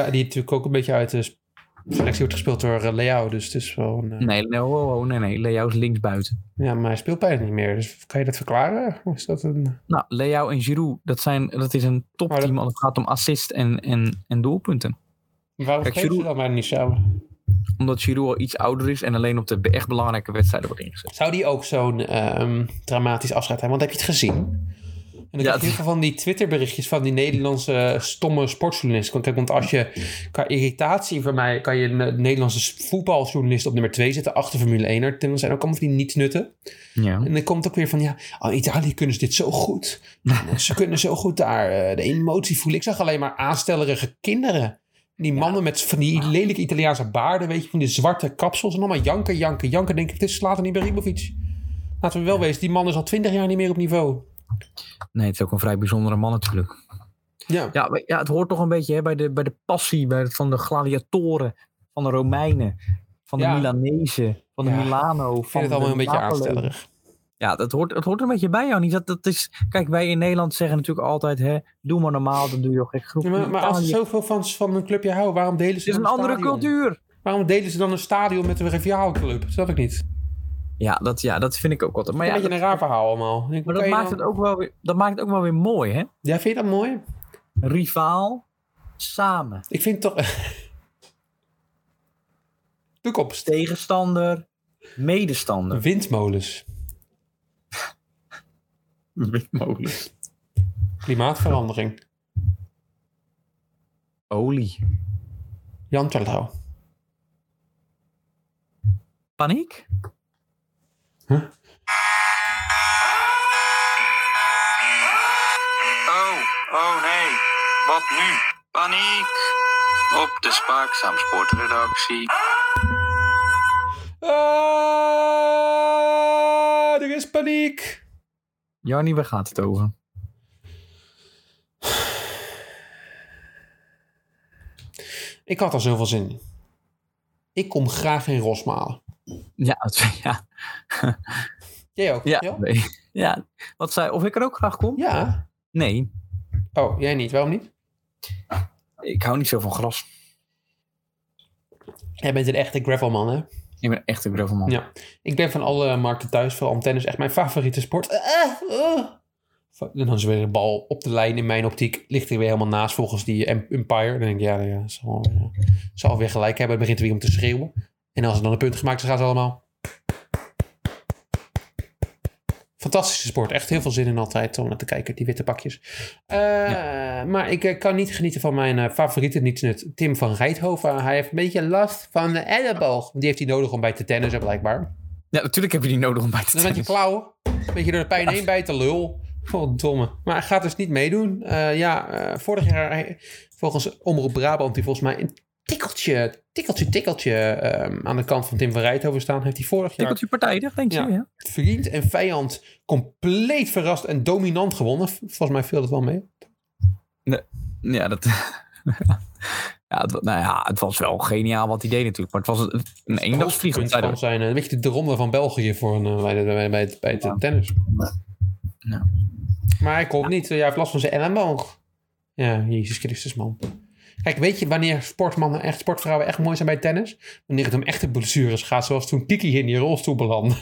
A: Ja, die natuurlijk ook een beetje uit de s- selectie wordt gespeeld door eh, Leao. Dus het is wel een... eh,
C: Nee, nee, ho, ho, nee, nee. Leo is linksbuiten.
A: Ja, maar hij speelt bijna niet meer. Dus kan je dat verklaren? Of Is dat een...
C: Nou, Leo en Giroud, dat, zijn, dat is een
A: Maar
C: topteam
A: dat-
C: als het gaat om assist en, en, en doelpunten.
A: Waarom
C: Kijk,
A: spelen ze
C: Giroud-
A: dan maar niet samen?
C: Omdat Giroud al iets ouder is en alleen op de echt belangrijke wedstrijden wordt ingezet.
A: Zou die ook zo'n ehm, dramatisch afscheid hebben? Want heb je het gezien? En dan
C: Ja,
A: krijg je heel veel van die Twitterberichtjes van die Nederlandse eh, stomme sportjournalisten. Want, kijk, want als je qua irritatie van mij kan je een eh, Nederlandse s- voetbaljournalist op nummer 2 zetten achter Formule 1. Er zijn ook allemaal van die niet-nutten.
C: Ja.
A: En dan komt ook weer van ja, oh, Italië kunnen ze dit zo goed. ze kunnen zo goed daar eh, de emotie voelen. Ik zag alleen maar aanstellerige kinderen. Die mannen met van die lelijke Italiaanse baarden, weet je, van die zwarte kapsels. En allemaal janken, janken, janken. Denk ik, dit slaat er niet bij Rimovic. Laten we wel wezen, die man is al twintig jaar niet meer op niveau.
C: Nee, het is ook een vrij bijzondere man natuurlijk.
A: Ja.
C: Ja, maar- ja het hoort toch een beetje hè, bij, de, bij de passie bij, het- van de gladiatoren, van de Romeinen, van de
A: Ja.
C: Milanezen, van de
A: Ja.
C: Milano.
A: Ik
C: Van
A: vind het allemaal
C: de
A: een beetje
C: Napoli.
A: aanstellerig.
C: Ja, dat hoort, dat hoort er een beetje bij jou niet. Dat, dat is, kijk, wij in Nederland zeggen natuurlijk altijd, hè, doe maar normaal, dan doe je ook gek genoeg.
A: maar,
C: In
A: maar als ze
C: Italië-
A: zoveel fans van hun clubje houden, waarom delen
C: het
A: ze
C: is een
A: dan
C: andere
A: stadion?
C: cultuur.
A: Waarom delen ze dan een stadion met een rivaalclub? Dat snap ik niet.
C: Ja dat, ja, dat vind ik ook altijd. Maar,
A: een
C: ja,
A: beetje
C: dat-
A: een raar verhaal allemaal. Ik denk,
C: maar
A: kan
C: dat,
A: je
C: maakt
A: dan-
C: het ook wel weer, dat maakt het ook wel weer mooi, hè?
A: Ja, vind je dat mooi?
C: Rivaal, samen.
A: Ik vind toch... Toekomst.
C: Tegenstander, medestander.
A: Windmolens.
C: Windmolens.
A: Klimaatverandering.
C: Olie.
A: Jan Terlouw.
C: Paniek?
B: Oh, oh nee. Wat nu? Paniek. Op de Spaakzaam Sportredactie.
A: Ah, er is paniek.
C: Jarnie, waar gaat het over?
A: Ik had er zoveel zin in. Ik kom graag in Rosmalen.
C: Ja, het- ja,
A: Jij ook?
C: ja,
A: Ja?
C: nee. ja. Wat zei, of ik er ook graag kom?
A: ja.
C: Nee,
A: Oh, jij niet. Waarom niet?
C: ik hou niet zo van gras.
A: Jij bent een echte gravelman, hè?
C: Ik ben echt een gravelman.
A: Ja. Ik ben van alle markten thuis. Voor antennes echt mijn favoriete sport. Ah, ah. En dan is er weer een bal op de lijn in mijn optiek. Ligt er weer helemaal naast volgens die em- umpire. Dan denk ik, ja, ja zal, weer, zal weer gelijk hebben. Het begint weer om te schreeuwen. En als er dan een punt gemaakt is, gaan ze allemaal... Fantastische sport. Echt heel veel zin in altijd om naar te kijken. Die witte pakjes. Eh, Maar ik eh, kan niet genieten van mijn eh, favoriete nietsnut. Tim van Rijthoven. Hij heeft een beetje last van de elleboog. Die heeft hij nodig om bij te tennissen blijkbaar.
C: Ja, natuurlijk heb je die nodig om bij te
A: Dan met je
C: tennissen.
A: klauw. Een beetje door de pijn heen bijten, lul. Verdomme. Maar hij gaat dus niet meedoen. Eh, ja, eh, vorig jaar hij- volgens Omroep Brabant, die volgens mij een tikkeltje, tikkeltje, tikkeltje ehm, aan de kant van Tim van Rijthoven staan, heeft hij vorig jaar
C: Tikkeltje partijdig, denk je?
A: Ja.
C: Ja.
A: vriend en vijand compleet verrast en dominant gewonnen. V- Volgens mij viel dat wel mee.
C: Ja, dat... ja, het, wa- nou ja, het was wel geniaal wat hij deed natuurlijk. Maar het was een- een eendagsvlieg.
A: Hoogtepunt van zijn, eh, een beetje de ronde van België voor een, eh, bij, de- bij, bij het, bij het
C: Ja.
A: tennis.
C: Ja.
A: Maar hij komt niet. eh, Hij heeft last van zijn elleboog. Ja, Jezus Christus, man. Kijk, weet je wanneer sportmannen echt, sportvrouwen echt mooi zijn bij tennis? Wanneer het om echte blessures gaat, zoals toen Kiki in die rolstoel belandde.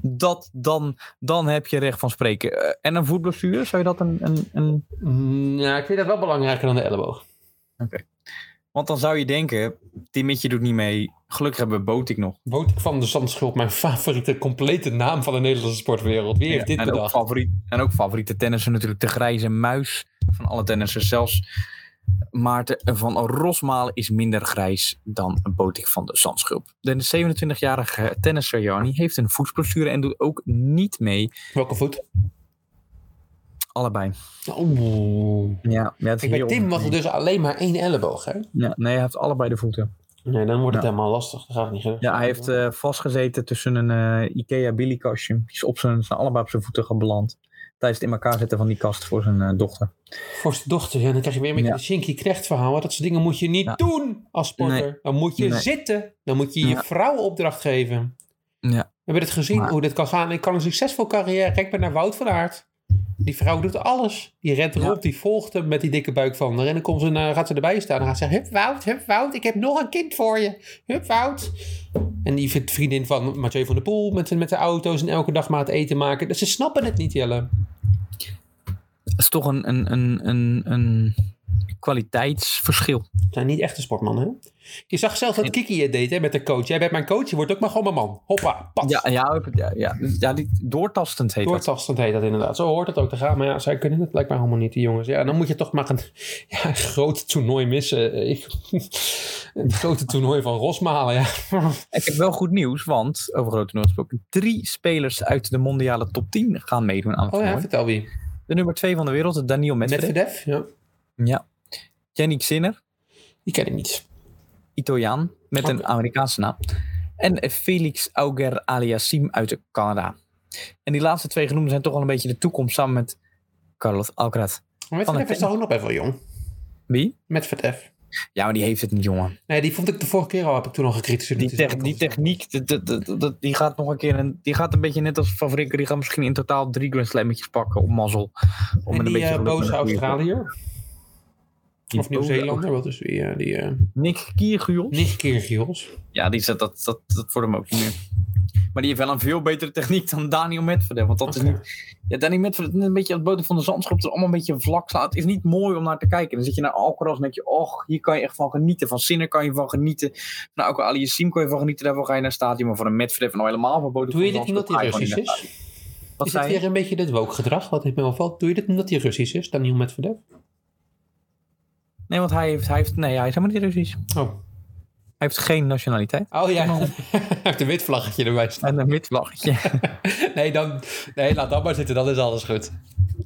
C: Dat, dan, dan heb je recht van spreken. Eh, En een voetblessure, zou je dat een... een, een...
A: Mm, Ja, ik vind dat wel belangrijker dan de elleboog.
C: Want dan zou je denken, Timmetje doet niet mee. Gelukkig hebben we Botik nog.
A: Botik van de Zandschulp, mijn favoriete complete naam van de Nederlandse sportwereld. Wie heeft
C: Ja,
A: dit
C: en ook,
A: bedacht?
C: favoriet, en ook favoriete tennissen natuurlijk. De grijze muis van alle tennissers. Zelfs Maarten van Rosmalen is minder grijs dan Botik van de Zandschulp. De 27-jarige tennisser Jarni heeft een voetsblessure en doet ook niet mee.
A: Welke voet?
C: Allebei.
A: Oeh.
C: Ja, ja het is
A: Kijk, bij
C: heel
A: Tim was er
C: ongemeen.
A: dus alleen maar één elleboog, hè?
C: ja, Nee, hij heeft allebei de voeten.
A: Nee, dan wordt
C: het
A: helemaal lastig. Dat gaat niet
C: Ja, hij heeft eh, vastgezeten tussen een eh, Ikea billiekastje. Die is op zijn, zijn allebei op zijn voeten gebeland. Tijdens het in elkaar zetten van die kast voor zijn eh, dochter.
A: Voor zijn dochter. En dan krijg je weer een beetje
C: Ja.
A: de Shinky Knecht verhaal. want Dat soort dingen moet je niet
C: Ja.
A: doen als sporter.
C: Nee.
A: Dan moet je
C: Nee.
A: zitten. Dan moet je je
C: Ja.
A: vrouw opdracht geven.
C: Ja.
A: We hebben het gezien
C: Maar-
A: hoe dit kan gaan. Ik kan een succesvol carrière. Kijk maar naar Wout van Aert. Die vrouw doet alles. Die rent
C: Ja.
A: erop. Die volgt hem met die dikke buik van haar. En dan komt ze, naar- gaat ze erbij staan. En gaat ze zeggen, hup Wout, hup Wout. Ik heb nog een kind voor je. Hup Wout. En die vindt vriendin van Mathieu van der Poel. Met, zijn- met de auto's en elke dag maar het eten maken. Dus ze snappen het niet, Jelle.
C: Het is toch een, een, een, een, een kwaliteitsverschil.
A: zijn niet echte sportmannen, hè? Je zag zelf dat Kiki het deed, hè, met de coach. Jij bent mijn coach, je wordt ook maar gewoon mijn man. Hoppa, pas.
C: Ja, ja, ja, ja, ja die, doortastend heet dat.
A: Doortastend heet dat inderdaad. Zo hoort het ook te gaan. Maar ja, zij kunnen het blijkbaar helemaal niet, die jongens. Ja, dan moet je toch maar een, ja, een groot toernooi missen. Ik, een grote toernooi van Rosmalen, ja.
C: Ik heb wel goed nieuws, want over grote toernooi gesproken, drie spelers uit de mondiale top 10 gaan meedoen aan het
A: Oh ja,
C: toernooi.
A: vertel wie.
C: De nummer 2 van de wereld, Daniel Medvedev.
A: Medvedev, ja.
C: Ja. Yannick Sinner,
A: Die ken ik niet.
C: Italiaan, met een
A: Oké.
C: Amerikaanse naam. En Felix Auger aliassim uit Canada. En die laatste twee genoemden zijn toch wel een beetje de toekomst samen met Carlos Alcaraz.
A: Maar
C: Van
A: Medvedev
C: het
A: is toch ook nog best wel jong.
C: Wie?
A: Medvedev.
C: Ja, maar die heeft het niet, jongen.
A: Nee, die vond ik de vorige keer al, heb ik toen al gekritiseerd.
C: Die,
A: Dat is
C: tech-
A: ook
C: die
A: altijd zo.
C: techniek, dat- dat- dat- dat- die gaat nog een keer... Een, die gaat een beetje net als Van Vrinken. Die gaat misschien in totaal drie Grand Slammetjes pakken op mazzel. Om
A: En
C: een
A: die
C: beetje
A: eh,
C: geluk met
A: boze
C: een goede-
A: Australiër.
C: Die
A: Of
C: boze
A: Nieuw-Zeelander, wat is die? eh, die eh
C: Nick Kyrgios.
A: Nick Kyrgios.
C: Ja, die zet, dat, dat, dat wordt hem ook niet meer. Maar die heeft wel een veel betere techniek dan Daniel Medvedev. Want dat is
A: Oké.
C: niet... Ja, Daniel Medvedev is een beetje als bodem van de zandschop. Er allemaal een beetje vlak slaan. Het is niet mooi om naar te kijken. Dan zit je naar Alcaraz en denk je... Och, hier kan je echt van genieten. Van Sinner kan je van genieten. Van Alco Aliassim kan je van genieten. Daarvoor ga je naar het stadion. Maar van een Medvedev nou helemaal van bodem
A: Doe je
C: van
A: dit
C: de
A: niet omdat
C: zandschop
A: hij
C: ga je
A: Russisch
C: gewoon niet
A: is?
C: naar het stadion. Wat
A: Is het
C: zei je?
A: weer een beetje dit woke gedrag wat ik me opvalt? Doe je dit omdat hij Russisch is, Daniel Medvedev?
C: Nee, want hij heeft, hij heeft... Nee, hij is helemaal niet Russisch.
A: Oh,
C: Hij heeft geen nationaliteit.
A: oh ja. Hij heeft een wit vlaggetje erbij staan.
C: En een wit vlaggetje.
A: Nee, dan, nee, laat dat maar zitten, dan is alles goed.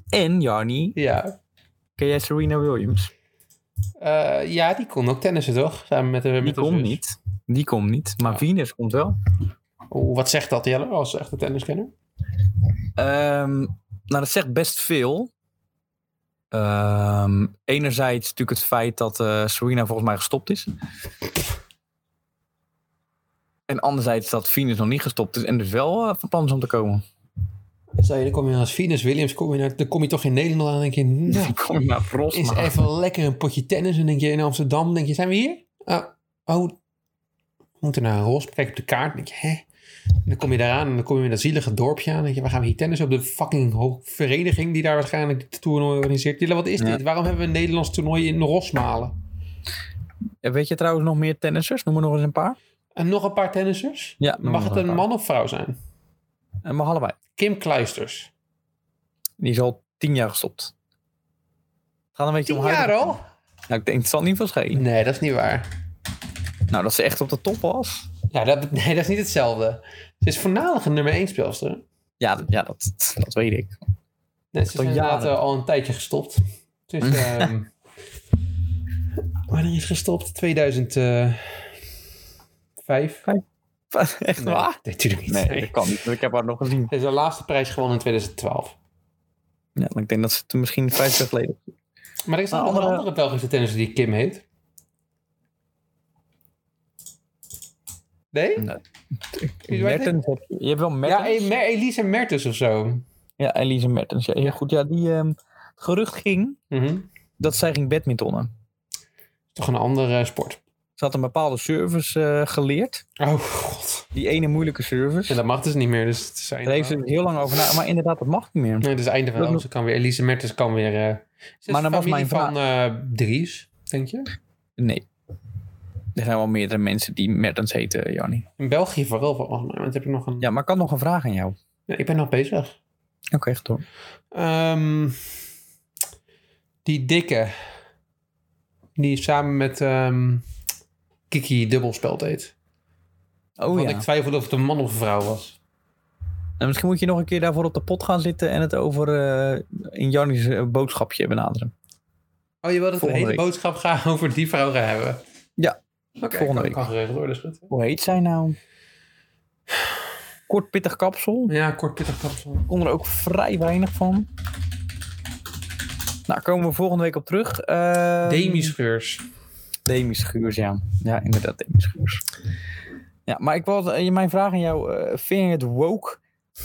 C: en, Jarni,
A: Ja,
C: ken jij Serena Williams?
A: Eh, ja die kon ook tennissen, toch? Samen met de
C: Die
A: met haar
C: komt
A: zus.
C: niet. Die komt niet. Maar
A: Ja.
C: Venus komt wel.
A: Oeh, wat zegt dat, Jelle, als echte tenniskenner?
C: Ehm, nou, dat zegt best veel. Ehm, enerzijds natuurlijk het feit dat eh, Serena volgens mij gestopt is. En anderzijds dat Venus nog niet gestopt is en dus wel eh, van plan is om te komen.
A: Stel je, dan kom je als Venus Williams, kom je naar, dan kom je toch in Nederland aan en denk je... Nou,
C: Kom je naar
A: is
C: Rosmalen.
A: even lekker een potje tennis. En denk je in Amsterdam, denk je, zijn we hier? Ah, oh, we moeten naar Ros. Kijk op de kaart, denk je, hè? En dan kom je daaraan en dan kom je in dat zielige dorpje aan. Denk je, waar gaan we hier tennis op? De fucking ho- vereniging die daar waarschijnlijk het toernooi organiseert. Jelle, wat is
C: Ja.
A: dit? Waarom hebben we een Nederlands toernooi in Rosmalen?
C: En Weet je trouwens nog meer tennissers? Noem er nog eens een paar.
A: En nog een paar tennissers?
C: Ja, noem
A: Mag
C: nog
A: het een
C: paar.
A: man of vrouw zijn?
C: Het mag allebei.
A: Kim Kluisters.
C: Eh, Die is al tien jaar gestopt. Het gaat een beetje
A: Tien
C: om haar.
A: jaar al?
C: Nou, ik denk, het zal niet veel schelen.
A: Nee, dat is niet waar.
C: Nou, dat ze echt op de top was.
A: Ja, dat, nee, dat is niet hetzelfde. Ze is voornamelijk een nummer 1 speelster. hè?
C: Ja, dat- ja dat, dat weet ik.
A: Nee, ze
C: Al
A: zijn inderdaad
C: jaren.
A: eh, al een tijdje gestopt. Het is... ehm wanneer is het gestopt? 2005?
C: Echt
A: Nee,
C: waar?
A: nee, natuurlijk niet.
C: Nee,
A: Nee.
C: dat kan niet. want Ik heb haar nog gezien.
A: Ze is haar laatste prijs gewonnen in 2012.
C: Ja, maar ik denk dat ze toen misschien vijf jaar geleden.
A: Maar er is nog een
C: Maar
A: andere,
C: Nou, andere-
A: andere Belgische tennisser die Kim heet. Nee? Wie werd
C: Mertens. heb- Je hebt wel
A: Ja,
C: Mertens.
A: eh, Mer- Elise Mertens of zo.
C: Ja, Elise Mertens. Ja, heel goed. Ja, die ehm, gerucht ging
A: Mhm.
C: dat zij ging badmintonnen.
A: Toch een andere sport.
C: Ze had een bepaalde service eh, geleerd.
A: Oh god.
C: Die ene moeilijke service.
A: En dat mag dus niet meer. Dus het is
C: Daar heeft ze er heel lang over na. Maar inderdaad, dat mag niet meer.
A: Nee, dus einde van
C: Dat
A: oh,
C: nog-
A: ze kan weer. Elise Mertens kan weer. eh is
C: Maar
A: maar dan
C: dan was
A: familie
C: mijn
A: van eh, Dries, denk je?
C: Nee. Er zijn wel meerdere mensen die Mertens heten, Jannie.
A: In België vooral volgens mij. Want heb ik nog een.
C: Ja, maar ik had nog een vraag aan jou.
A: Ja, ik ben nog bezig.
C: Oké, echt hoor.
A: Ehm, die dikke. Die samen met ehm, Kiki dubbelspel deed.
C: Oh
A: Want
C: ja.
A: ik twijfelde of het een man of een vrouw was.
C: En misschien moet je nog een keer daarvoor op de pot gaan zitten en het over eh, in Jannie's eh, boodschapje benaderen.
A: Oh, je wil dat we een
C: Volgende
A: hele
C: week.
A: boodschap gaan over die vrouw gaan hebben.
C: Ja.
A: Oké,
C: Volgende
A: kan,
C: week.
A: kan geregeld worden, is goed.
C: Hoe heet zij nou? Kort pittig kapsel.
A: Ja, kort pittig kapsel.
C: Ik kon er ook vrij weinig van. Nou, komen we volgende week op terug. Eh,
A: Demi Scheurs.
C: Demi Schuurs, ja. Ja, inderdaad, Demi Schuurs. Ja, maar ik wil mijn vraag aan jou. eh, vind je het woke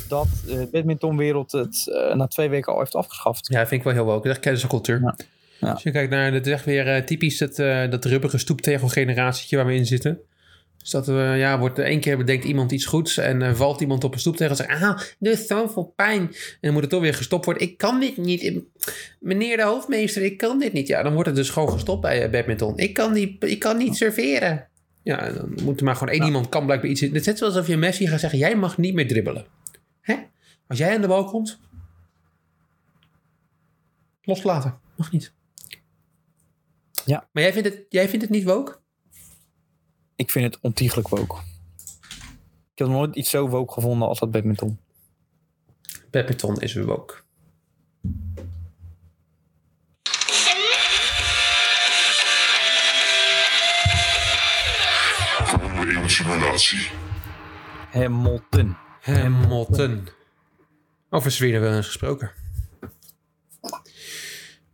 C: dat eh, de badmintonwereld het eh, na twee weken al heeft afgeschaft?
A: Ja, vind ik wel heel woke. Dat is cancelcultuur.
C: Ja. Ja.
A: Als je kijkt naar, dat is echt weer eh, typisch dat, eh dat rubbige stoeptegelgeneratietje waar we in zitten. Dus dat, eh, ja, wordt één keer bedenkt iemand iets goeds en eh, valt iemand op een stoep tegen en zegt, ah, dus zoveel pijn. En dan moet het toch weer gestopt worden. Ik kan dit niet. Meneer de hoofdmeester, ik kan dit niet. Ja, dan wordt het dus gewoon gestopt bij eh, badminton. Ik kan, die, ik kan niet serveren. Ja, en dan moet er maar gewoon één iemand kan blijkbaar iets... Het is net zoals alsof je Messi gaat zeggen, jij mag niet meer dribbelen. Hè? Als jij aan de bal komt, loslaten. Mag niet.
C: Ja.
A: Maar jij vindt het, jij vindt het niet woke?
C: Ik vind het ontiegelijk woke. Ik heb nog nooit iets zo woke gevonden als dat badminton.
A: Pepperton is woke.
E: Volgende emotionatie.
C: Hamilton.
A: Hamilton. Over Oh, Sweden wel eens gesproken.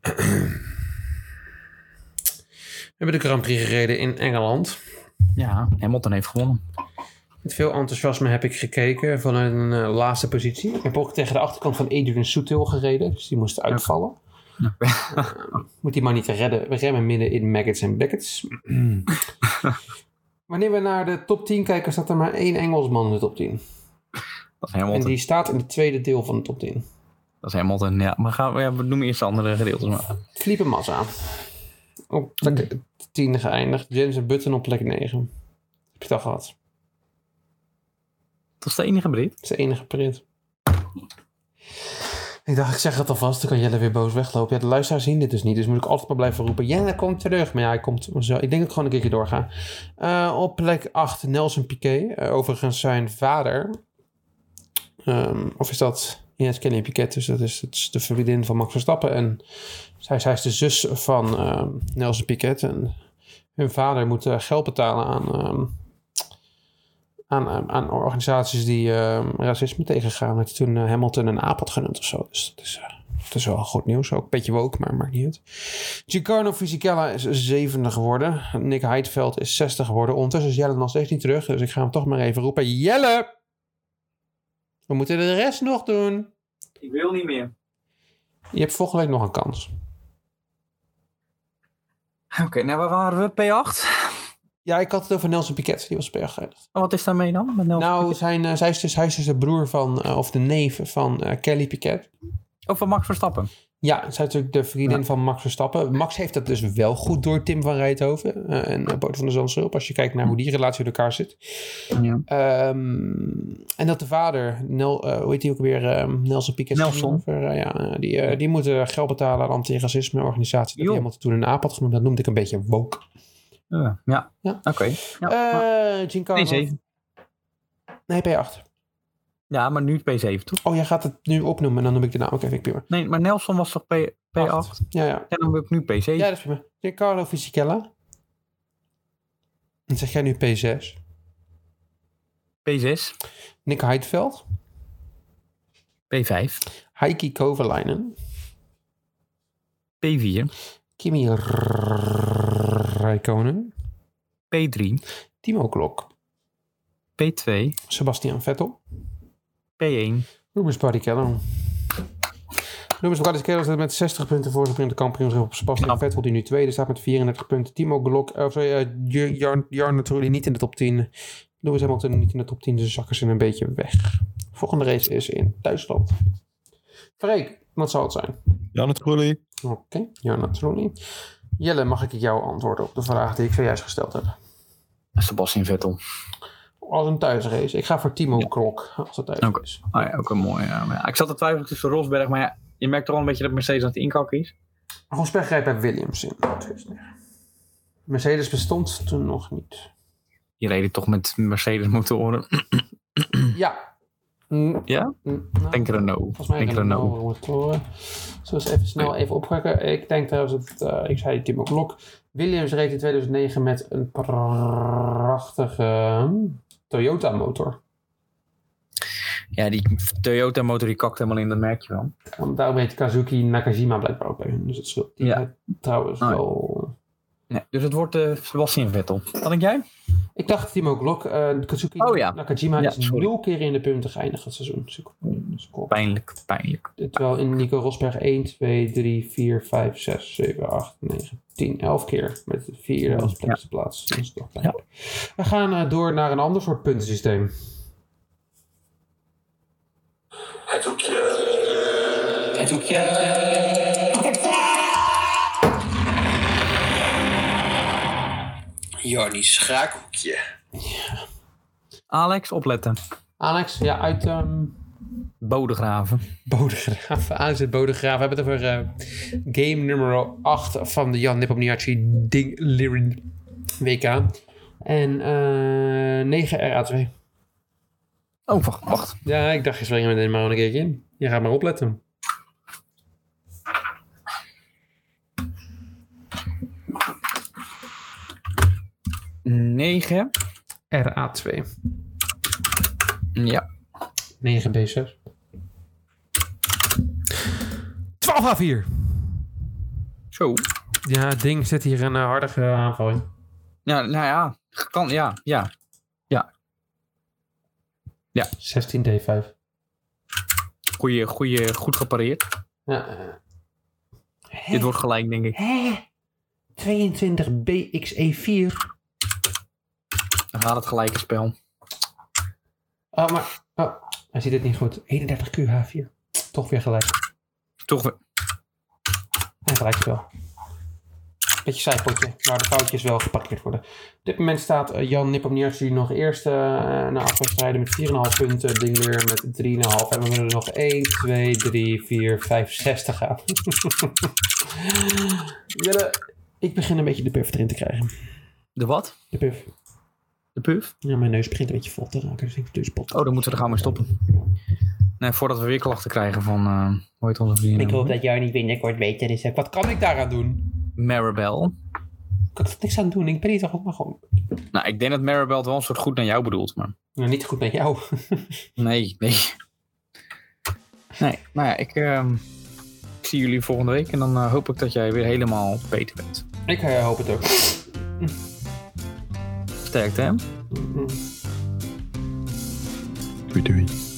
A: We hebben de Grand Prix gereden in Engeland.
C: Ja, Hamilton heeft gewonnen.
A: Met veel enthousiasme heb ik gekeken van een eh, laatste positie. Ik heb ook tegen de achterkant van Adrian Soetil gereden. Dus die moest uitvallen.
C: Ja.
A: Eh, moet die maar niet redden. We remmen midden in maggots en beckets. Wanneer we naar de top 10 kijken, staat er maar één Engelsman in de top 10.
C: Dat is Hamilton.
A: En die staat in het tweede deel van de top 10.
C: Dat is Hamilton, ja. Maar gaan we, ja, we noemen eerst de andere gedeeltes maar.
A: Felipe Massa. Op plek 10 geëindigd. Jensen Button op plek 9. Heb je het al gehad?
C: Dat is de enige Brit.
A: Dat is de enige print. Ik dacht, ik zeg het alvast, dan kan Jelle weer boos weglopen. Ja, de luisteraars zien dit dus niet, dus moet ik altijd maar blijven roepen. Jelle, kom terug. Maar ja, hij komt zo. Ik denk dat ik gewoon een keertje doorga. Eh, op plek 8, Nelson Piquet. Eh, overigens zijn vader. ehm, of is dat... Ja, het is Kelly Piquet, dus dat is, dat is de vriendin van Max Verstappen. En zij, zij is de zus van ehm, Nelson Piquet. En hun vader moet eh, geld betalen aan... ehm, aan, aan- aan organisaties die ehm, racisme tegengaan. Het toen eh, Hamilton een aap had genoemd of zo. Dus dat is, eh, dat is wel goed nieuws. Ook een beetje woke, maar maakt niet uit. Giancarlo Fisichella is zevende geworden. Nick Heidveld is 60 geworden. Ondertussen is Jelle nog steeds niet terug. Dus ik ga hem toch maar even roepen. Jelle! We moeten de rest nog doen.
C: Ik wil niet meer.
A: Je hebt volgende week nog een kans.
C: Oké, nou waar waren we? P8?
A: Ja, ik had het over Nelson Piquet. Die was op erg geëindigd.
C: En wat is daarmee dan? Met Nelson
A: Nou,
C: Piquet?
A: zijn, eh, zij is dus, hij is dus de broer van, eh, of de neef van eh, Kelly Piquet.
C: Oh, van Max Verstappen.
A: Ja, zij is natuurlijk de vriendin van Max Verstappen. Max heeft dat dus wel goed door Tim van Rijthoven eh, en eh, Boot van de Zandschulp. Als je kijkt naar hoe die relatie in elkaar zit.
C: Ja.
A: Ehm, en dat de vader, Nel, eh, hoe heet die ook weer? ehm, Nelson Piquet.
C: Nelson.
A: Of, eh, ja, eh, die, eh, die moet eh, geld betalen aan anti-racisme-organisatie. Dat
C: Joh.
A: iemand toen een aap had genoemd. Dat noemde ik een beetje woke.
C: Ja, Eh, ja.
A: Ja.
C: oké. Ja, maar-
A: Eh Giancarlo.
C: Nee, zeven.
A: Nee, P8.
C: ja, maar nu P7, toch?
A: Oh, jij gaat het nu opnoemen en dan noem ik de naam. Oké, vind ik prima.
C: Nee, maar Nelson was toch P, P8?
A: Acht. Ja, ja.
C: Ja, dan wil ik nu
A: Ja,
C: P7.
A: dat is prima. Giancarlo Fisichella. Dan zeg jij nu P6.
C: P6,
A: Nick Heidveld.
C: P5,
A: Heikki Kovalainen.
C: P4,
A: Kimi R- Räikkönen.
C: P3,
A: Timo Klok.
C: P2,
A: Sebastian Vettel.
C: P1.
A: Rubens Barrichello. Rubens Barrichello staat met 60 punten voor zijn de kampioenschap op Sebastian
C: Knap.
A: Vettel, die nu tweede staat met 34 punten. Timo Glock, eh, of sorry, eh, J- Jarn- Jarno Trulli niet in de top 10. Lewis Hamilton niet in de top 10, dus zakken ze een beetje weg. Volgende race is in Duitsland. Freek, wat zal het zijn?
D: Jan het Groelie.
A: Oké, Jarno Trulli. Jelle, mag ik jou antwoorden op de vraag die ik zojuist gesteld heb?
C: Sebastian Vettel.
A: Als een thuisrace. Ik ga voor Timo
C: Ja.
A: Klok als het thuis
C: Oké.
A: is.
C: Oh ja, ook een mooie. Ja. Maar ja, ik zat te twijfelen tussen Rosberg, maar ja, je merkt toch wel een beetje dat Mercedes aan het inkakken is.
A: Rosberg rijdt bij Williams in. 2009. Mercedes bestond toen nog niet.
C: Die reden toch met Mercedes-motoren.
A: Ja. Mm,
C: Ja?
A: mm, nou,
C: Denk Renault.
A: Volgens mij
C: Denk nou
A: hebben we
C: Renault.
A: nog motoren. Zullen we eens even snel even opkijken. Ik denk trouwens dat, eh, ik zei Timo Klok. Williams reed in 2009 met een prachtige Toyota motor.
C: Ja, die Toyota-motor die kakt helemaal in, dat merk je wel.
A: Want daarom heet Kazuki Nakajima blijkbaar ook bij hun. Dus dat scheelt. Die
C: Ja.
A: rijdt trouwens
C: Oh ja.
A: wel...
C: Ja, dus het wordt eh, Sebastian Vettel. Wat denk jij?
A: Ik dacht Timo Glock, eh, Kazuki
C: Oh ja.
A: Nakajima
C: Ja,
A: is
C: sorry.
A: nul keer in de punten geëindigd het seizoen. Dus ik- dus ik hoop-
C: Pijnlijk, pijnlijk.
A: Terwijl in Nico Rosberg 1, 2, 3, 4, 5, 6, 7, 8, 9, 10, 11 keer. Met 4 als plekse plaats. Dat is toch duidelijk. We gaan eh, door naar een ander soort puntensysteem.
F: Het hoekje. Het hoekje. Jarnie Schaakhoekje.
C: Alex, opletten.
A: Alex, ja, uit ehm
C: Bodegraven.
A: Bodegraaf. Alex uit Bodegraaf. We hebben het over eh, game nummer 8 van de Jan Nepomniachtchi Ding Lirin WK. En eh 9 RA2.
C: Oh, wacht, wacht.
A: Ja, ik dacht, je springt met helemaal een keertje in. Je gaat maar opletten.
C: Negen.
A: RA2.
C: Ja.
A: 9 B6. 12 A4.
C: Zo.
A: Ja, het ding zit hier een eh, hardige aanval in.
C: Ja, nou ja. Kan, ja, ja.
A: 16 D5.
C: Goeie, goeie, goed gepareerd.
A: Ja. eh.
C: Dit wordt gelijk, denk ik.
A: Hè? 22 BXE4.
C: Dan gaat het gelijke spel.
A: Oh, maar oh, hij ziet het niet goed. 31 QH4. Toch weer gelijk.
C: Toch weer.
A: En gelijkspel. Beetje zijpotje, waar de foutjes wel geparkeerd worden. Op dit moment staat eh, Jan Nipomniachtchi nog eerst eh na afwedstrijden met 4,5 punten. Ding weer met 3,5. En we moeten er nog 1, 2, 3, 4, 5, 6 te gaan. Jelle, ik begin een beetje de puff erin te krijgen.
C: De wat?
A: De puff.
C: De puf?
A: Ja, mijn neus begint een beetje vol te raken. Dus ik doe spot.
C: Oh, dan moeten we er gauw mee stoppen. Nee, voordat we weer klachten krijgen van... eh hoe heet onze vriendin?
A: Ik hoop dat jou niet binnenkort beter is. Wat kan ik daaraan doen?
C: Maribel.
A: Ik kan er niks aan doen. Ik ben hier toch ook maar gewoon...
C: Nou, ik denk dat Maribel het wel een soort goed naar jou bedoelt, maar...
A: Nou, niet goed met jou.
C: Nee, nee. Nee, nou ja, ik, ehm, ik zie jullie volgende week en dan eh, hoop ik dat jij weer helemaal beter bent.
A: Ik eh, hoop het ook.
C: Sterkte, hè?
D: Doei doei.